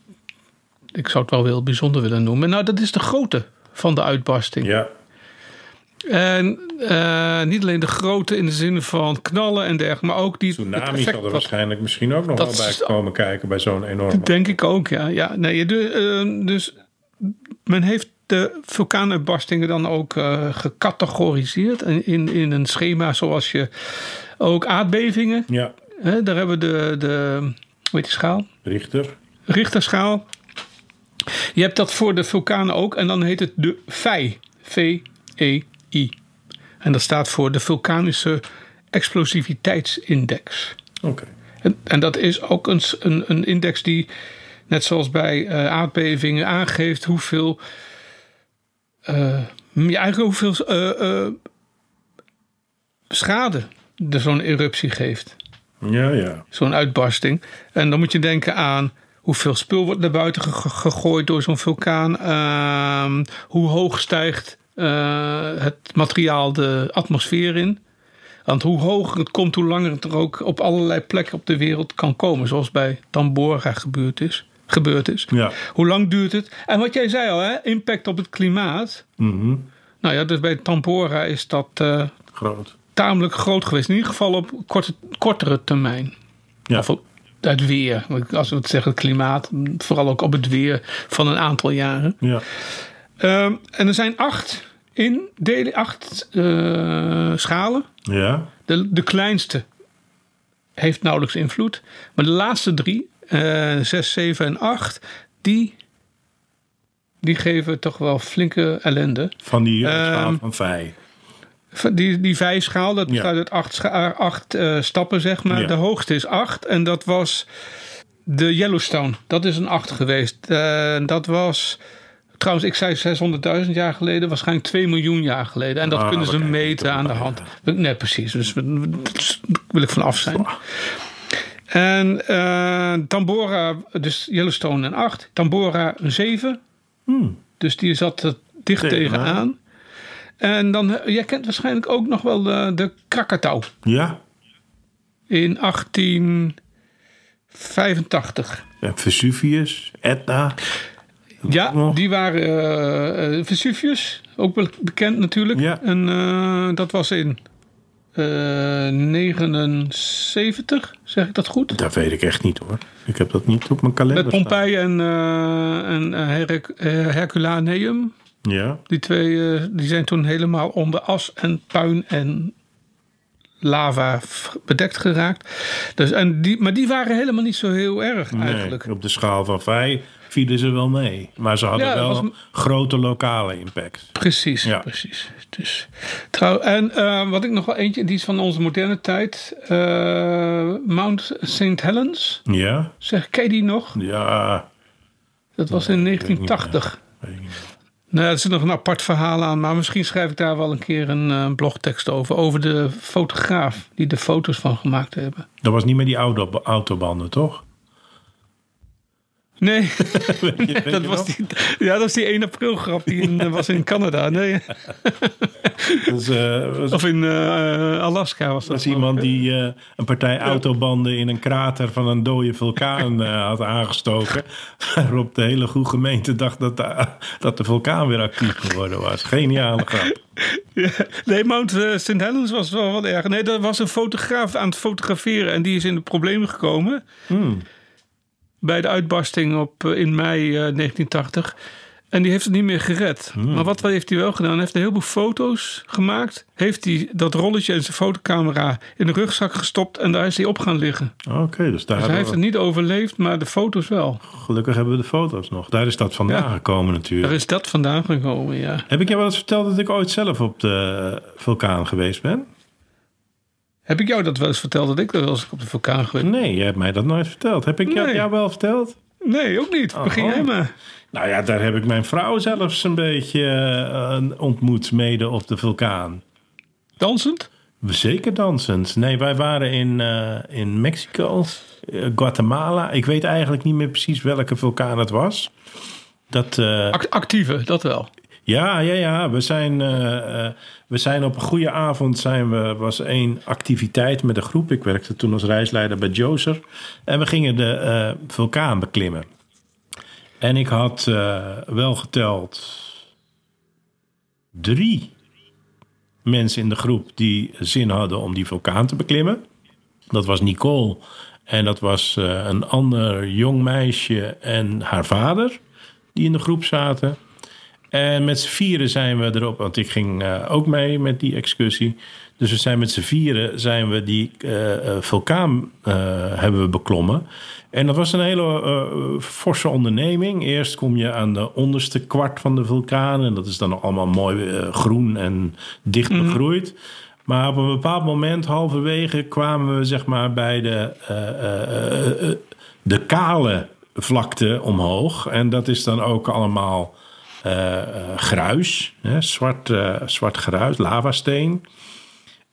ik zou het wel heel bijzonder willen noemen. Nou, dat is de grootte van de uitbarsting. Ja. En eh, niet alleen de grootte in de zin van knallen en dergelijke, maar ook die. het Tsunami effect zal er wat- waarschijnlijk misschien ook nog dat wel bij is- dus- komen kijken bij zo'n enorme. Denk ik ook, ja. ja nee, je doet, eh, dus men heeft de vulkaanuitbarstingen dan ook eh, gecategoriseerd in, in, in een schema zoals je ook aardbevingen. Ja, Hè, daar hebben we de, de, hoe heet die schaal? Richter. Richterschaal. Je hebt dat voor de vulkanen ook en dan heet het de VEI. V-E-I. En dat staat voor de Vulkanische Explosiviteitsindex. Oké. En, en dat is ook een, s- een, een index die, net zoals bij eh, aardbevingen, aangeeft hoeveel. eh, ja, eigenlijk hoeveel eh, eh, schade er zo'n eruptie geeft, Ja, ja. zo'n uitbarsting. En dan moet je denken aan hoeveel spul wordt naar buiten ge- ge- gegooid door zo'n vulkaan, ehm, hoe hoog stijgt eh, het materiaal de atmosfeer in. Want hoe hoger het komt, hoe langer het er ook op allerlei plekken op de wereld kan komen. Zoals bij Tambora gebeurd is. Gebeurd is. Ja. Hoe lang duurt het? En wat jij zei al, hè? impact op het klimaat. Mhm. Nou ja, dus bij Tambora is dat eh, Groot. tamelijk groot geweest. In ieder geval op korte, kortere termijn. Ja. Of op Nou, het weer. Want Als we het zeggen, het klimaat. Vooral ook op het weer van een aantal jaren. Ja. Ehm, en er zijn acht, in delen, acht eh, schalen. Ja. De, de kleinste heeft nauwelijks invloed. Maar de laatste drie, eh 6, 7 en 8, die, die geven toch wel flinke ellende. Van die eh, Ehm, schaal van Vij. Van Die, die vijfschaal, dat Ja. bestaat uit acht, scha- eh, acht eh, stappen, zeg maar. Ja. De hoogste is acht en dat was de Yellowstone. Dat is een acht geweest. Eh, dat was, trouwens, ik zei 600.000 jaar geleden, waarschijnlijk 2 miljoen jaar geleden. En dat Ah, kunnen ze oké, dat meten aan de hand. Nee, precies. Dus we- daar wil ik van af zijn. En eh, Tambora, dus Yellowstone een 8. Tambora een 7. Hmm. Dus die zat er dicht Tegenaan. tegenaan. En dan, eh, jij kent waarschijnlijk ook nog wel de, de Krakatau Ja. in 1885. En Vesuvius, Etna. Ja, nog? die waren eh, eh, Vesuvius, ook wel bekend natuurlijk. Ja. En eh, dat was in eh 79, zeg ik dat goed? Dat weet ik echt niet hoor. Ik heb dat niet op mijn kalender Met Pompeii en, eh, en eh, Herc- eh, Herculaneum. staan. Ja. Die twee eh, die zijn toen helemaal onder as en puin en lava v- bedekt geraakt. Dus, en die, maar die waren helemaal niet zo heel erg Nee, eigenlijk. op de schaal van Vij vielen ze wel mee. Maar ze hadden Ja, dat wel was- grote lokale impact. Precies, Ja. precies. Dus, trouw, en eh, wat ik nog wel eentje, die is van onze moderne tijd. eh, Mount St. Helens, Ja. zeg, ken je die nog? Ja. Dat was in ik weet niet 1980. Weet ik niet. Nou, er zit nog een apart verhaal aan, maar misschien schrijf ik daar wel een keer een eh, blogtekst over. Over de fotograaf die er foto's van gemaakt hebben. Dat was niet meer die oude autobanden, toch? Nee, Weet je- weet je dat nog? was, die, ja, dat was die 1 april grap die in, eh, was in Canada. Nee, Dat is, eh, was, of in eh, Alaska was dat. was iemand die eh, een partij autobanden in een krater van een dode vulkaan eh, had aangestoken. Waarop de hele goede gemeente dacht dat de, dat de vulkaan weer actief geworden was. Geniale grap. Ja, nee, Mount eh, St. Helens was wel wat erg. Nee, dat was een fotograaf aan het fotograferen en die is in de problemen gekomen. Hmm. Bij de uitbarsting op, eh, in mei eh, 1980. En die heeft het niet meer gered. Hmm. Maar wat heeft hij wel gedaan? Hij heeft een heleboel foto's gemaakt. Heeft hij dat rolletje en zijn fotocamera in de rugzak gestopt. En daar is hij op gaan liggen. Oké, dus daar Dus hij hebben heeft we- het niet overleefd, maar de foto's wel. gelukkig hebben we de foto's nog. Daar is dat vandaan Ja. gekomen Daar natuurlijk. is dat vandaan gekomen, ja. Heb ik jou wel eens verteld dat ik ooit zelf op de vulkaan geweest ben? Heb ik jou dat wel eens verteld dat ik er wel eens op de vulkaan geweest Nee, je hebt mij dat nooit verteld. Heb ik jou, Nee. jou wel verteld? Nee, ook niet. Begin Oh. jij maar. Nou ja, daar heb ik mijn vrouw zelfs een beetje eh, ontmoet, mede op de vulkaan. Dansend? Zeker dansend. Nee, wij waren in, eh, in Mexico, eh, Guatemala. Ik weet eigenlijk niet meer precies welke vulkaan het was. Dat, eh, Ac- actieve, dat wel. Ja, ja, ja. We zijn, eh, eh, we zijn op een goede avond. Zijn we, was één activiteit met een groep. Ik werkte toen als reisleider bij Joser. En we gingen de eh, vulkaan beklimmen. En ik had eh, wel geteld drie mensen in de groep die zin hadden om die vulkaan te beklimmen. Dat was Nicole en dat was eh, een ander jong meisje en haar vader die in de groep zaten. En met z'n vieren zijn we erop, want ik ging eh, ook mee met die excursie. Dus we zijn met z'n vieren zijn we die eh, eh, vulkaan eh, hebben we beklommen. En dat was een hele eh, forse onderneming. Eerst kom je aan de onderste kwart van de vulkaan. En dat is dan allemaal mooi eh, groen en dicht begroeid. Maar op een bepaald moment, halverwege, kwamen we zeg maar bij de, eh, eh, eh, eh, de kale vlakte omhoog. En dat is dan ook allemaal eh, eh, gruis, hè, zwart, eh, zwart gruis, lavasteen.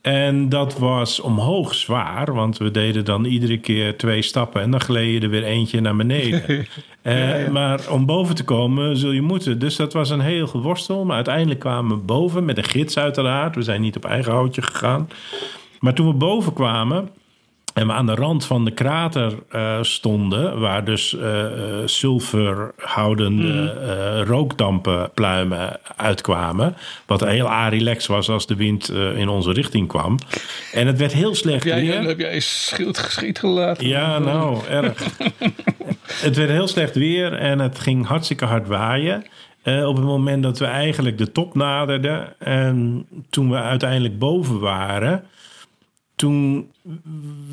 En dat was omhoog zwaar, want we deden dan iedere keer twee stappen en dan gleed je er weer eentje naar beneden. Eh, Maar om boven te komen zul je moeten. Dus dat was een heel geworstel. Maar uiteindelijk kwamen we boven met een gids uiteraard. We zijn niet op eigen houtje gegaan. Maar toen we boven kwamen, en we aan de rand van de krater eh, stonden, waar dus eh, eh, zilverhoudende Mhm. eh, rookdampenpluimen uitkwamen. Wat heel arilex was als de wind eh, in onze richting kwam. En het werd heel slecht Heb weer. jij, heb jij schild geschiet gelaten? Ja, nou, erg. het werd heel slecht weer en het ging hartstikke hard waaien. Eh, op het moment dat we eigenlijk de top naderden en toen we uiteindelijk boven waren, toen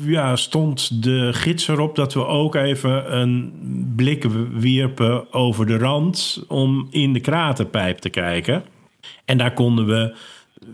ja, stond de gids erop dat we ook even een blik wierpen over de rand om in de kraterpijp te kijken. En daar konden we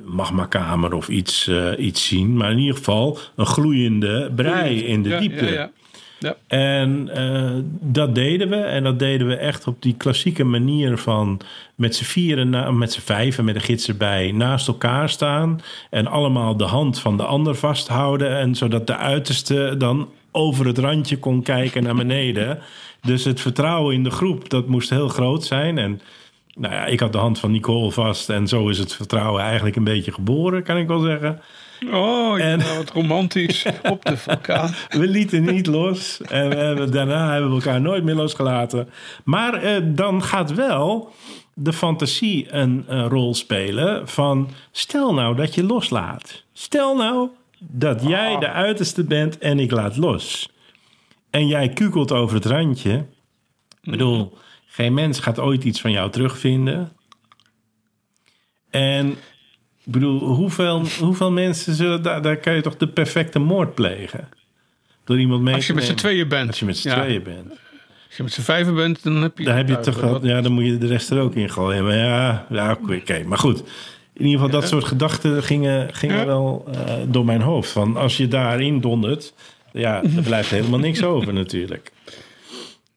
magmakamer of iets, eh, iets zien, maar in ieder geval een gloeiende brei in de Ja, diepte. Ja, ja. Ja. En eh, dat deden we. En dat deden we echt op die klassieke manier van met z'n vieren, na- met z'n vijven, met de gids erbij, naast elkaar staan. En allemaal de hand van de ander vasthouden. En zodat de uiterste dan over het randje kon kijken naar beneden. Dus het vertrouwen in de groep, dat moest heel groot zijn. En nou ja, ik had de hand van Nicole vast. En zo is het vertrouwen eigenlijk een beetje geboren, kan ik wel zeggen. Oh, ja, En- nou, wat romantisch op de vulkaan. We lieten niet los. En we hebben, daarna hebben we elkaar nooit meer losgelaten. Maar eh, dan gaat wel de fantasie een, een rol spelen. Van stel nou dat je loslaat. Stel nou dat Ah. jij de uiterste bent en ik laat los. En jij kukelt over het randje. Ik bedoel, geen mens gaat ooit iets van jou terugvinden. En ik bedoel, hoeveel, hoeveel mensen zullen daar, daar kan je toch de perfecte moord plegen? Door iemand mee Als je te met z'n nemen. tweeën bent. Als je met z'n Ja. tweeën bent. Als je met z'n vijven bent, dan heb je... Daar heb je Ja, toch wat- wel- ja, dan moet je de rest er ook in gooien. Maar ja, ja oké. oké. Maar goed, in ieder geval dat soort gedachten gingen, gingen Ja. wel eh, door mijn hoofd. Van als je daarin dondert, ja, er blijft helemaal niks over natuurlijk.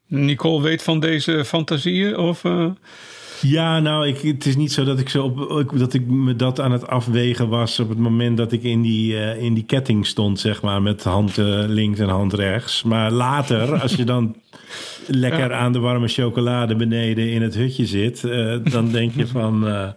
Nicole weet van deze fantasieën? Of, eh, Ja, nou, ik, het is niet zo dat ik, zo op, ik- dat ik me dat aan het afwegen was op het moment dat ik in die, eh, in die ketting stond, zeg maar, met hand eh, links en hand rechts. Maar later, als je dan lekker aan de warme chocolade beneden in het hutje zit, eh, dan denk je van, eh,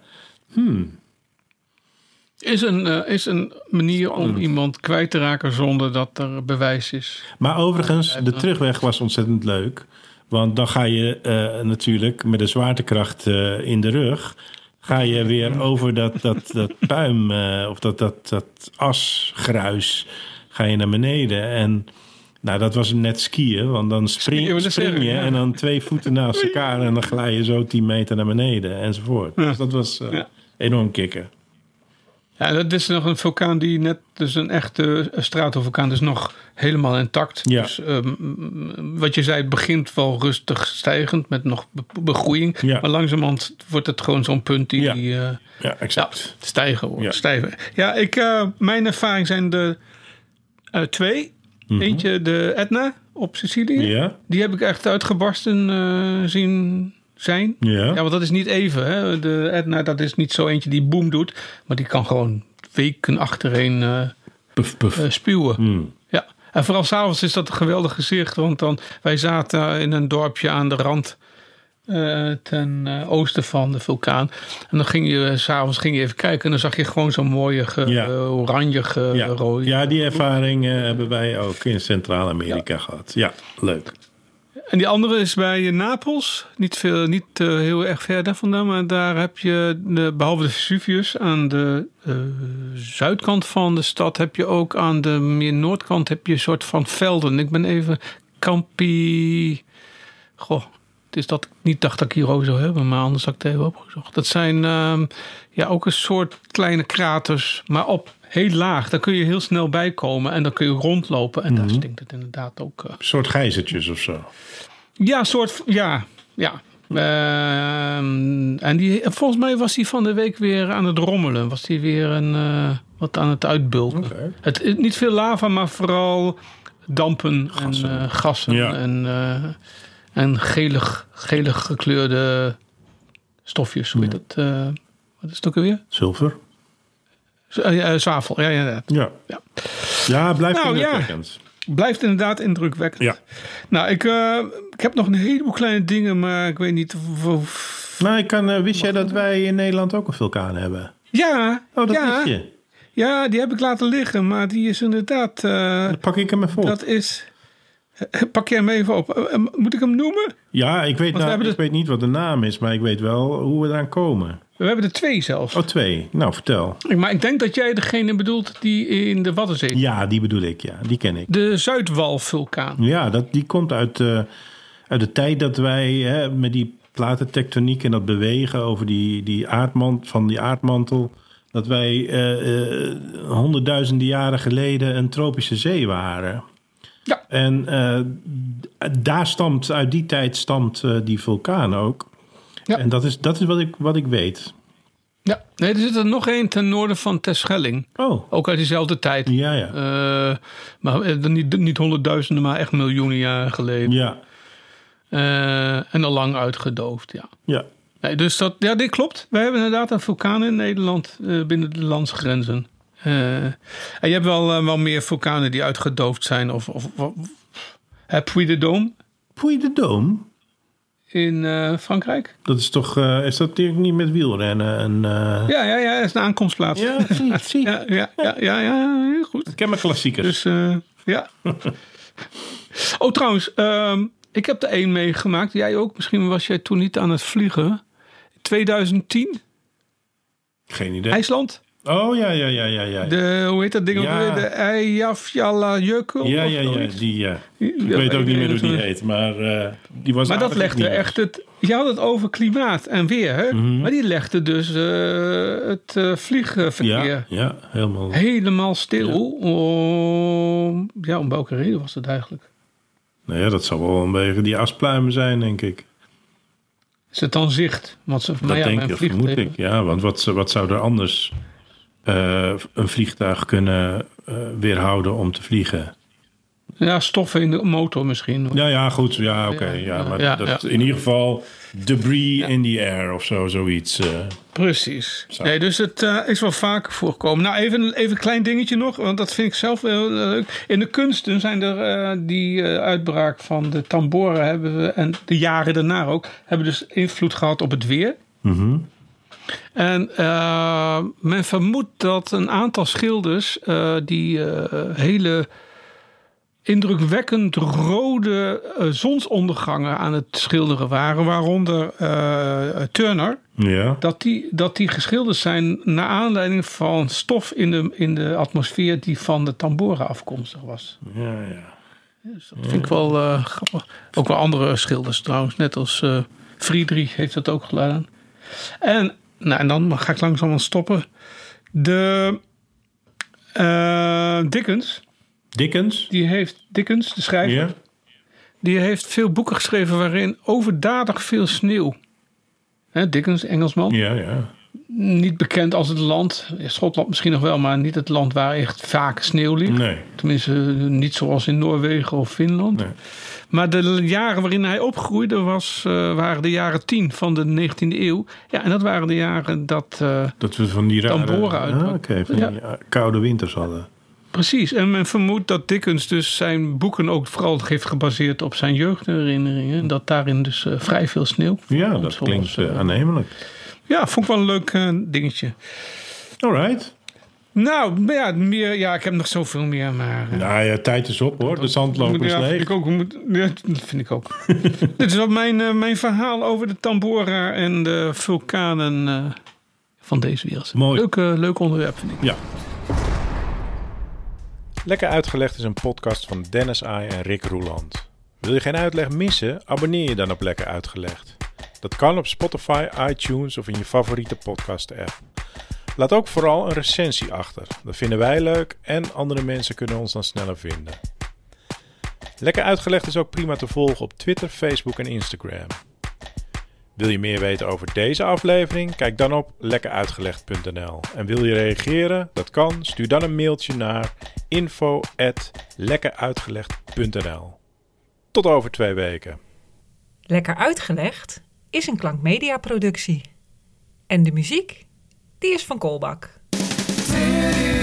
is, een, eh, is een manier om iemand kwijt te raken zonder dat er bewijs is? Maar overigens, de terugweg was ontzettend leuk. Want dan ga je eh, natuurlijk met de zwaartekracht eh, in de rug. Ga je weer over dat, dat, dat puim eh, of dat, dat, dat asgruis. Ga je naar beneden. En nou, dat was net skiën. Want dan Skiën, wil spring, ik spring je zeggen, ja. en dan twee voeten naast elkaar. En dan glij je zo 10 meter naar beneden enzovoort. Dus dat was eh, Ja. enorm kicken. Ja, dat is nog een vulkaan die net, dus een echte stratovulkaan, dus nog helemaal intact. Ja. Dus ehm, wat je zei, het begint wel rustig stijgend met nog be- begroeiing. Ja. Maar langzamerhand wordt het gewoon zo'n punt die, Ja. die, eh, Ja, Ja, exact. stijgen hoor. Ja. Stijgen. Ja, ik, eh, mijn ervaring zijn de eh, twee. Eentje de Etna op Sicilië. Mhm. Ja? Die heb ik echt uitgebarsten eh, zien zijn. Ja, Ja? want dat is niet even. Hè. De Etna, dat is niet zo eentje die boom doet. Maar die kan gewoon weken achtereen eh, Puf, puf. eh, spuwen. Hmm. Ja. En vooral s'avonds is dat een geweldig gezicht. Want dan, wij zaten in een dorpje aan de rand. eh, ten eh, oosten van de vulkaan. En dan ging je eh, s'avonds ging je even kijken. En dan zag je gewoon zo'n mooie ge, Ja. eh, oranje ge, Ja, rode. ja die ervaring eh, hebben wij ook in Centraal-Amerika gehad. Ja, leuk. En die andere is bij eh, Napels. Niet, veel, niet eh, heel erg ver daar vandaan. Maar daar heb je, de, behalve de Vesuvius, aan de eh, zuidkant van de stad... heb je ook aan de meer noordkant heb je een soort van velden. Ik ben even Campi... Goh, het is dat ik niet dacht dat ik hier ook zou hebben. Maar anders had ik het even opgezocht. Dat zijn ehm, ja, ook een soort kleine kraters, maar op... Heel laag, daar kun je heel snel bij komen en dan kun je rondlopen. En daar stinkt het inderdaad ook. eh, Een soort gijzertjes of zo. ja, soort v- ja, ja. Ehm, en die, volgens mij was hij van de week weer aan het rommelen. Was hij weer een, eh, wat aan het uitbulken. Oké. Het, eh, niet veel lava, maar vooral dampen en eh, gassen. Ja. En, eh, en gelig, gelig gekleurde stofjes. Hoe heet dat? eh, wat is het ook alweer? Zilver? Z- eh, eh, zwavel, ja, ja, ja. Ja. Ja. Ja, blijft Nou, ja. indrukwekkend. Blijft inderdaad indrukwekkend. Ja. Nou, ik, eh, ik heb nog een heleboel kleine dingen, maar ik weet niet of- of Nou, ik kan, eh, wist jij dat wij in Nederland ook een vulkaan hebben? Ja, Oh, dat ja, wist je. ja, die heb ik laten liggen, maar die is inderdaad. eh, Dan pak ik hem even op. dat is. Eh, Pak jij hem even op. Eh, eh, moet ik hem noemen? ja, ik, weet, we nou, hebben ik dus- weet niet wat de naam is, maar ik weet wel hoe we eraan komen. We hebben er twee zelfs. Oh, twee. Nou, vertel. Maar ik denk dat jij degene bedoelt die in de Waddenzee. Ja, die bedoel ik. Ja, die ken ik. De Zuidwalvulkaan. Ja, dat, die komt uit, eh, uit de tijd dat wij hè, met die platentektoniek en dat bewegen over die, die aardmant, van die aardmantel. Dat wij eh, eh, honderdduizenden jaren geleden een tropische zee waren. Ja. En eh, d- daar stamt, uit die tijd stamt eh, die vulkaan ook. Ja. En dat is, dat is wat, ik, wat ik weet. ja. Nee, er zit er nog één ten noorden van Terschelling. Oh, Ook uit diezelfde tijd. ja, ja. Eh, maar eh, dan niet, niet honderdduizenden, maar echt miljoenen jaren geleden. ja, Eh, en al lang uitgedoofd, ja. ja. Nee, dus dat, ja, dit klopt. We hebben inderdaad een vulkaan in Nederland eh, binnen de landsgrenzen. Eh, en je hebt wel, eh, wel meer vulkanen die uitgedoofd zijn. Of, of, of, Eh, Puy de Dôme Poei de Doom. in eh, Frankrijk. Dat is toch, eh, is dat niet met wielrennen? En, eh, Ja, ja, ja, dat is een aankomstplaats. Ja, zie, zie. ja, ja, ja, ja, ja, heel goed. Ik ken mijn klassiekers. Dus eh, ja. oh, trouwens, ehm, ik heb er één meegemaakt. Jij ook. Misschien was jij toen niet aan het vliegen. 2010, Geen idee. IJsland. Oh ja, ja, ja, ja, ja. De, hoe heet dat ding? ook Ja. weer? De Eyjafjallajökull. of ja, Oh, ja, ja, zoiets. die, ja. Ik weet ook niet meer hoe die heet, maar eh, die was Maar dat aardig legde opnieuw. echt het... Je had het over klimaat en weer, hè? Mhm. Maar die legde dus eh, het eh, vliegverkeer Ja, ja, helemaal. helemaal stil. Om, ja, om welke reden was dat eigenlijk? Nou ja, dat zal wel vanwege die aspluimen zijn, denk ik. Is het dan zicht? Want ze, Dat maar Nou ja, denk mijn ik, vliegtuig- vermoed ik. Ja, want wat, wat zou er anders eh, een vliegtuig kunnen eh, weerhouden om te vliegen? Ja, stoffen in de motor misschien. Ja, ja, goed. Ja, oké. Ja, ja, ja, maar ja, dat, ja. in ieder geval debris in the air of zo, zoiets. eh. Precies. Zo. Nee, dus het eh, is wel vaker voorgekomen. Nou, even, even een klein dingetje nog, want dat vind ik zelf wel eh, leuk. In de kunsten zijn er eh, die eh, uitbraak van de tamboren hebben we, en de jaren daarna ook, hebben dus invloed gehad op het weer. Mhm. En eh, men vermoedt dat een aantal schilders eh, die eh, hele indrukwekkend rode eh, zonsondergangen aan het schilderen waren, waaronder eh, Turner Ja. dat die, dat die geschilderd zijn naar aanleiding van stof in de, in de atmosfeer die van de tamboren afkomstig was. ja, ja. Dus dat vind ik wel eh, grappig. Ook wel andere schilders trouwens, net als eh, Friedrich heeft dat ook gedaan. En, nou, en dan ga ik langzaam aan stoppen. De eh, Dickens, Dickens? die heeft, Dickens, de schrijver, Ja. die heeft veel boeken geschreven waarin overdadig veel sneeuw. Hè, Dickens, Engelsman. Ja, ja. niet bekend als het land. Schotland misschien nog wel, maar niet het land waar echt vaak sneeuw ligt. Nee. Tenminste, eh, niet zoals in Noorwegen of Finland. Nee. Maar de jaren waarin hij opgroeide was, eh, waren de jaren 10 van de 19e eeuw. Ja, en dat waren de jaren dat. eh, Dat we van die rare... Tamboren uitpakken. Ah, oké, van die, eh, koude winters hadden. precies. En men vermoedt dat Dickens dus zijn boeken ook vooral heeft gebaseerd op zijn jeugdherinneringen. En dat daarin dus eh, vrij veel sneeuw. Ja, voorkomt, dat zoals, klinkt eh, eh, aannemelijk. ja, vond ik wel een leuk eh, dingetje. All right. Nou, maar ja, meer, ja, ik heb nog zoveel meer, maar. eh, Nou ja, tijd is op hoor. De zandloper is ja, Vind leeg. ik ook, we moeten- ja, dat vind ik ook. Dit is wat mijn, eh, mijn verhaal over de Tambora en de vulkanen eh, van deze wereld. Mooi. Leuk, eh, leuk onderwerp, vind ik. Ja. Lekker Uitgelegd is een podcast van Dennis Aai en Rick Roeland. Wil je geen uitleg missen? Abonneer je dan op Lekker Uitgelegd. Dat kan op Spotify, iTunes of in je favoriete podcast-app. Laat ook vooral een recensie achter. Dat vinden wij leuk en andere mensen kunnen ons dan sneller vinden. Lekker Uitgelegd is ook prima te volgen op Twitter, Facebook en Instagram. Wil je meer weten over deze aflevering? Kijk dan op lekkeruitgelegd.nl. En wil je reageren? Dat kan. Stuur dan een mailtje naar info@lekkeruitgelegd.nl. Tot over twee weken. Lekker Uitgelegd is een klankmedia-productie. En de muziek, die is van Kolbak. Did you